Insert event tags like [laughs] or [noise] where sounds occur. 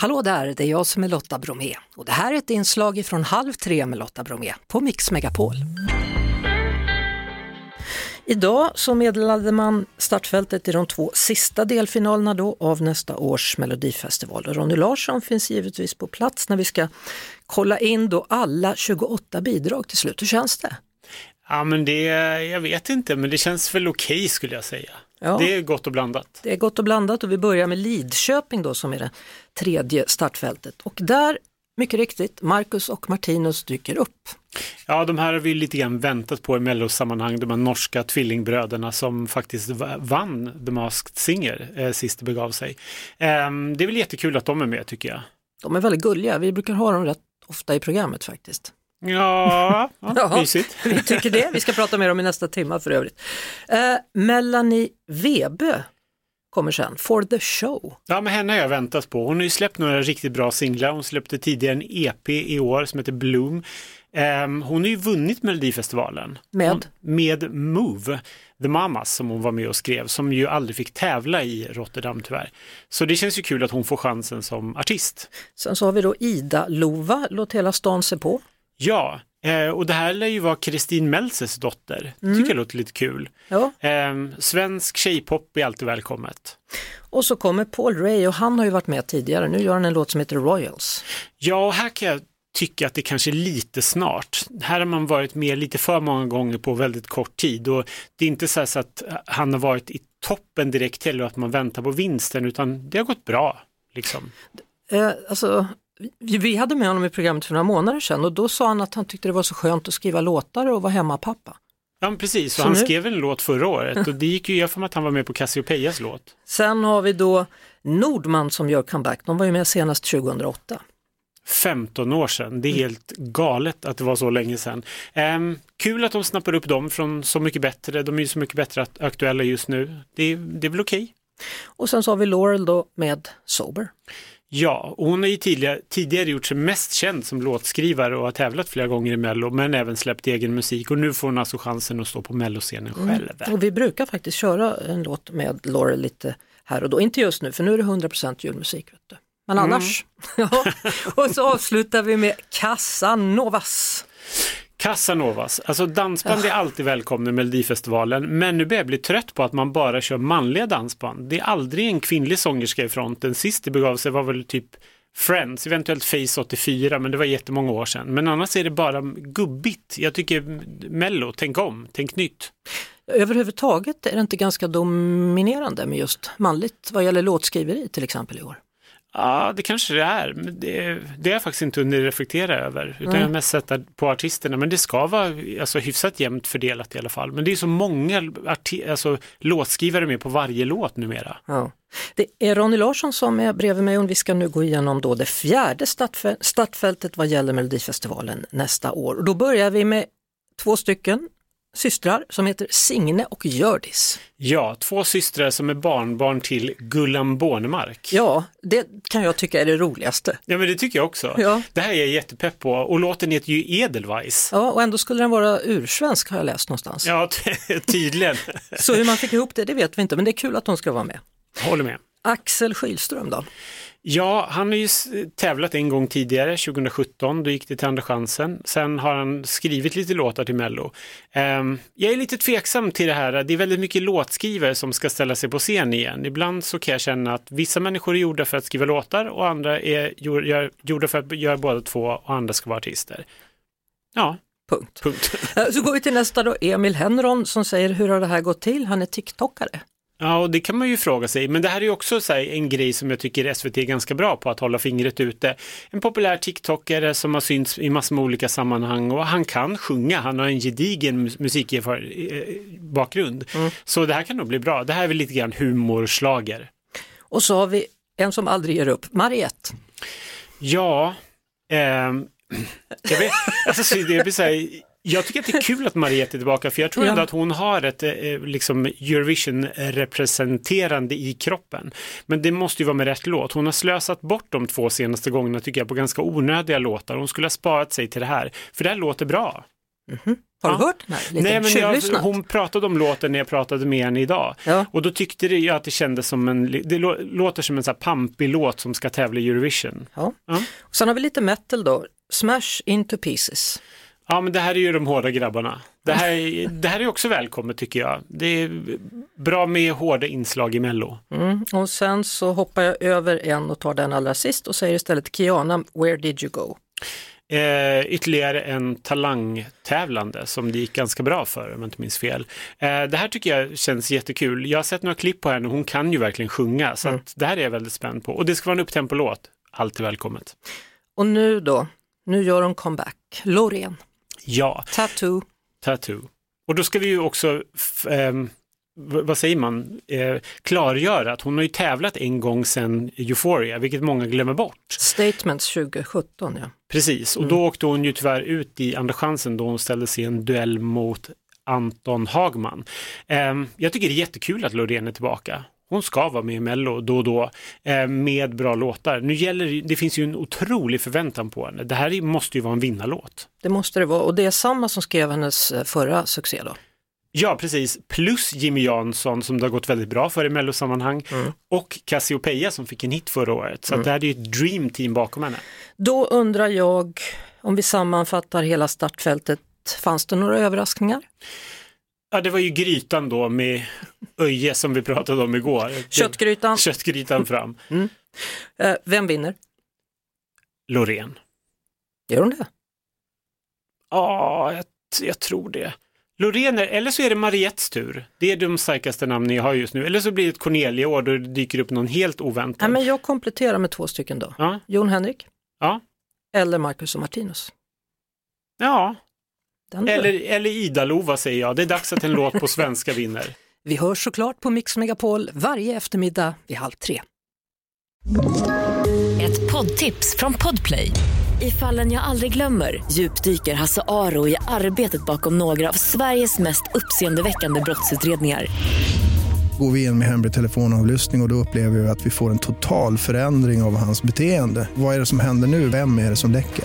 Hallå där, det är jag som är Lotta Bromé och det här är ett inslag från Halv tre med Lotta Bromé på Mix Megapol. Idag så meddelade man startfältet i de två sista delfinalerna då av nästa års Melodifestival. Och Ronny Larsson finns givetvis på plats när vi ska kolla in då alla 28 bidrag till slut. Hur känns det? Ja men det, jag vet inte, men det känns väl okej skulle jag säga. Ja. Det är gott och blandat. Det är gott och blandat och vi börjar med Lidköping då som är det tredje startfältet. Och där, mycket riktigt, Marcus och Martinus dyker upp. Ja, de här har vi lite grann väntat på i mellosammanhang, de här norska tvillingbröderna som faktiskt v- vann The Masked Singer eh, sist det begav sig. Ehm, det är väl jättekul att de är med tycker jag. De är väldigt gulliga, vi brukar ha dem rätt ofta i programmet faktiskt. [laughs] Ja, Ja. ja mysigt. Vi tycker det, vi ska prata mer om i nästa timma för övrigt. Eh, Melanie Webe kommer sen, For the Show. Ja, men henne har jag väntat på. Hon har ju släppt några riktigt bra singlar. Hon släppte tidigare en EP i år som heter Bloom. Ehm, hon har ju vunnit Melodifestivalen. Med? Hon, med Move, The Mamas som hon var med och skrev, som ju aldrig fick tävla i Rotterdam tyvärr. Så det känns ju kul att hon får chansen som artist. Sen så har vi då Ida Lova, Låt hela stan se på. Ja, eh, och det här lär ju vara Kristin Meltzers dotter. Tycker jag låter lite kul. Ja. Ehm, svensk tjejpop är alltid välkommet. Och så kommer Paul Ray och han har ju varit med tidigare, nu gör han en låt som heter Royals. Ja, och här kan jag tycka att det kanske är lite snart. Här har man varit med lite för många gånger på väldigt kort tid och det är inte så, här så att eh, han har varit i toppen direkt heller och att man väntar på vinsten utan det har gått bra. Liksom. Eh, alltså, vi, vi hade med honom i programmet för några månader sedan och då sa han att han tyckte det var så skönt att skriva låtar och vara hemmapappa. Ja, men precis. Så Och han nu- skrev en låt förra året och det gick ju, jag för mig att han var med på Cassiopeias låt. Sen har vi då Nordman som gör comeback, de var ju med senast 2008. 15 år sedan, det är helt galet att det var så länge sedan. Ehm, kul att de snappar upp dem från Så mycket bättre, de är ju Så mycket bättre att- aktuella just nu. Det, det är väl okej. Och sen så har vi Laurel då med Sober. Ja, och hon har ju tidigare, tidigare gjort sig mest känd som låtskrivare och har tävlat flera gånger i Mello, men även släppt egen musik och nu får hon alltså chansen att stå på Melloscenen själv. Och vi brukar faktiskt köra en låt med Laurel lite här och då, inte just nu för nu är det 100% julmusik. Vet du. Men annars. [laughs] Ja. Och så avslutar vi med Casanovas. Casanovas, alltså dansband är alltid välkomna i Melodifestivalen, men nu börjar jag bli trött på att man bara kör manliga dansband. Det är aldrig en kvinnlig sångerska i fronten. Sist det begav sig var väl typ Friends, eventuellt Face 84, men det var jättemånga år sedan. Men annars är det bara gubbigt. Jag tycker Mello, tänk om, tänk nytt. Överhuvudtaget är det inte ganska dominerande med just manligt vad gäller låtskriveri till exempel i år. Ja, det kanske det är. Men det, det har jag faktiskt inte hunnit reflektera över. Utan jag har mest sett att- på artisterna. Men det ska vara alltså, hyfsat jämnt fördelat i alla fall. Men det är så många arti- alltså, låtskrivare med på varje låt numera. Ja. Det är Ronny Larsson som är bredvid mig och vi ska nu gå igenom då det fjärde startfä- startfältet vad gäller Melodifestivalen nästa år. Och då börjar vi med två stycken systrar som heter Signe och Hjördis. Ja, två systrar som är barnbarn till Gullan Bornemark. Ja, det kan jag tycka är det roligaste. Ja, men det tycker jag också. Ja. Det här är jag jättepepp på. Och låten heter ju Edelweiss. Ja, och ändå skulle den vara ursvensk har jag läst någonstans. Ja, [laughs] ty- tydligen. Så hur man fick ihop det, det vet vi inte, men det är kul att de ska vara med. Håller med. Axel Schylström då? Ja, han har ju s- tävlat en gång tidigare, 2017, då gick det till Andra chansen. Sen har han skrivit lite låtar till Mello. Ehm, jag är lite tveksam till det här, det är väldigt mycket låtskrivare som ska ställa sig på scen igen. Ibland så kan jag känna att vissa människor är gjorda för att skriva låtar och andra är gjor- gör- gjorda för att göra båda två och andra ska vara artister. Ja, Punkt. punkt. Eh, Så går vi till nästa då, Emil Henron som säger hur har det här gått till? Han är TikTokare. Ja, och det kan man ju fråga sig. Men det här är ju också så här, en grej som jag tycker SVT är ganska bra på, att hålla fingret ute. En populär TikTokare som har synts i massor med olika sammanhang och han kan sjunga, han har en gedigen mus- musikbakgrund. Så det här kan nog bli bra. Det här är väl lite grann humorslager. Och så har vi en som aldrig ger upp, Mariette. Ja, ehm, jag, vet, alltså, så det blir så här, jag tycker att det är kul att Mariette är tillbaka för jag tror Ja. ändå att hon har ett eh, eh, liksom Eurovision-representerande i kroppen. Men det måste ju vara med rätt låt. Hon har slösat bort de två senaste gångerna tycker jag på ganska onödiga låtar. Hon skulle ha sparat sig till det här, för det här låter bra. Mhm. Har du Ja. hört den här? Lite Nej, men jag, tjuvlyssnat? hon pratade om låten när jag pratade med henne idag. Ja. Och då tyckte det- jag att det kändes som en, det lå- låter som en så här pampig låt som ska tävla i Eurovision. Ja. Ja. Och sen har vi lite metal då, Smash into pieces. Ja, men det här är ju de hårda grabbarna. Det här, är- det här är också välkommet tycker jag. Det är bra med hårda inslag i Mello. Mm. Och sen så hoppar jag över en och tar den allra sist och säger istället Kiana, where did you go? Eh, ytterligare en talangtävlande som det gick ganska bra för om jag inte minns fel. Eh, det här tycker jag känns jättekul. Jag har sett några klipp på henne och hon kan ju verkligen sjunga så att det här är jag väldigt spänd på. Och det ska vara en upptempo-låt. Alltid välkommet. Och nu då, nu gör hon comeback. Loreen, Ja, Tattoo. Tattoo. Och då ska vi ju också, f- ehm, v- vad säger man, eh, klargöra att hon har ju tävlat en gång sedan Euphoria, vilket många glömmer bort. Statements 2017 ja. Precis, och då åkte hon ju tyvärr ut i Andra chansen då hon ställde sig i en duell mot Anton Hagman. Ehm, jag tycker det är jättekul att Loreen är tillbaka. Hon ska vara med i Mello då och då eh, med bra låtar. Nu gäller det, det finns ju en otrolig förväntan på henne. Det här är- måste ju vara en vinnarlåt. Det måste det vara och det är samma som skrev hennes eh, förra succé då. Ja, precis. Plus Jimmy Jansson som det har gått väldigt bra för i Mellosammanhang Mm. och Cassiopeia som fick en hit förra året. Så att det här är ju ett dream team bakom henne. Då undrar jag, om vi sammanfattar hela startfältet, fanns det några överraskningar? Ja, det var ju grytan då med Öje som vi pratade om igår. Köttgrytan, Köttgrytan fram. eh, vem vinner? Loreen. Gör hon det? Ja, jag, jag tror det. Loreen, är- eller så är det Mariettes tur. Det är de starkaste namnen jag har just nu. Eller så blir det ett Cornelia-år då det dyker upp någon helt Nej, oväntad. men jag kompletterar med två stycken då. Ja, Jon Henrik ja, eller Marcus och Martinus. ja. Den Eller, eller Ida-Lova säger jag. Det är dags att en låt på svenska vinner. Vi hörs såklart på Mix Megapol varje eftermiddag vid halv tre. Ett poddtips från Podplay. I fallen jag aldrig glömmer djupdyker Hasse Aro i arbetet bakom några av Sveriges mest uppseendeväckande brottsutredningar. går vi in med hemlig telefonavlyssning och, och då upplever vi att vi får en total förändring av hans beteende. Vad är det som händer nu? Vem är det som läcker?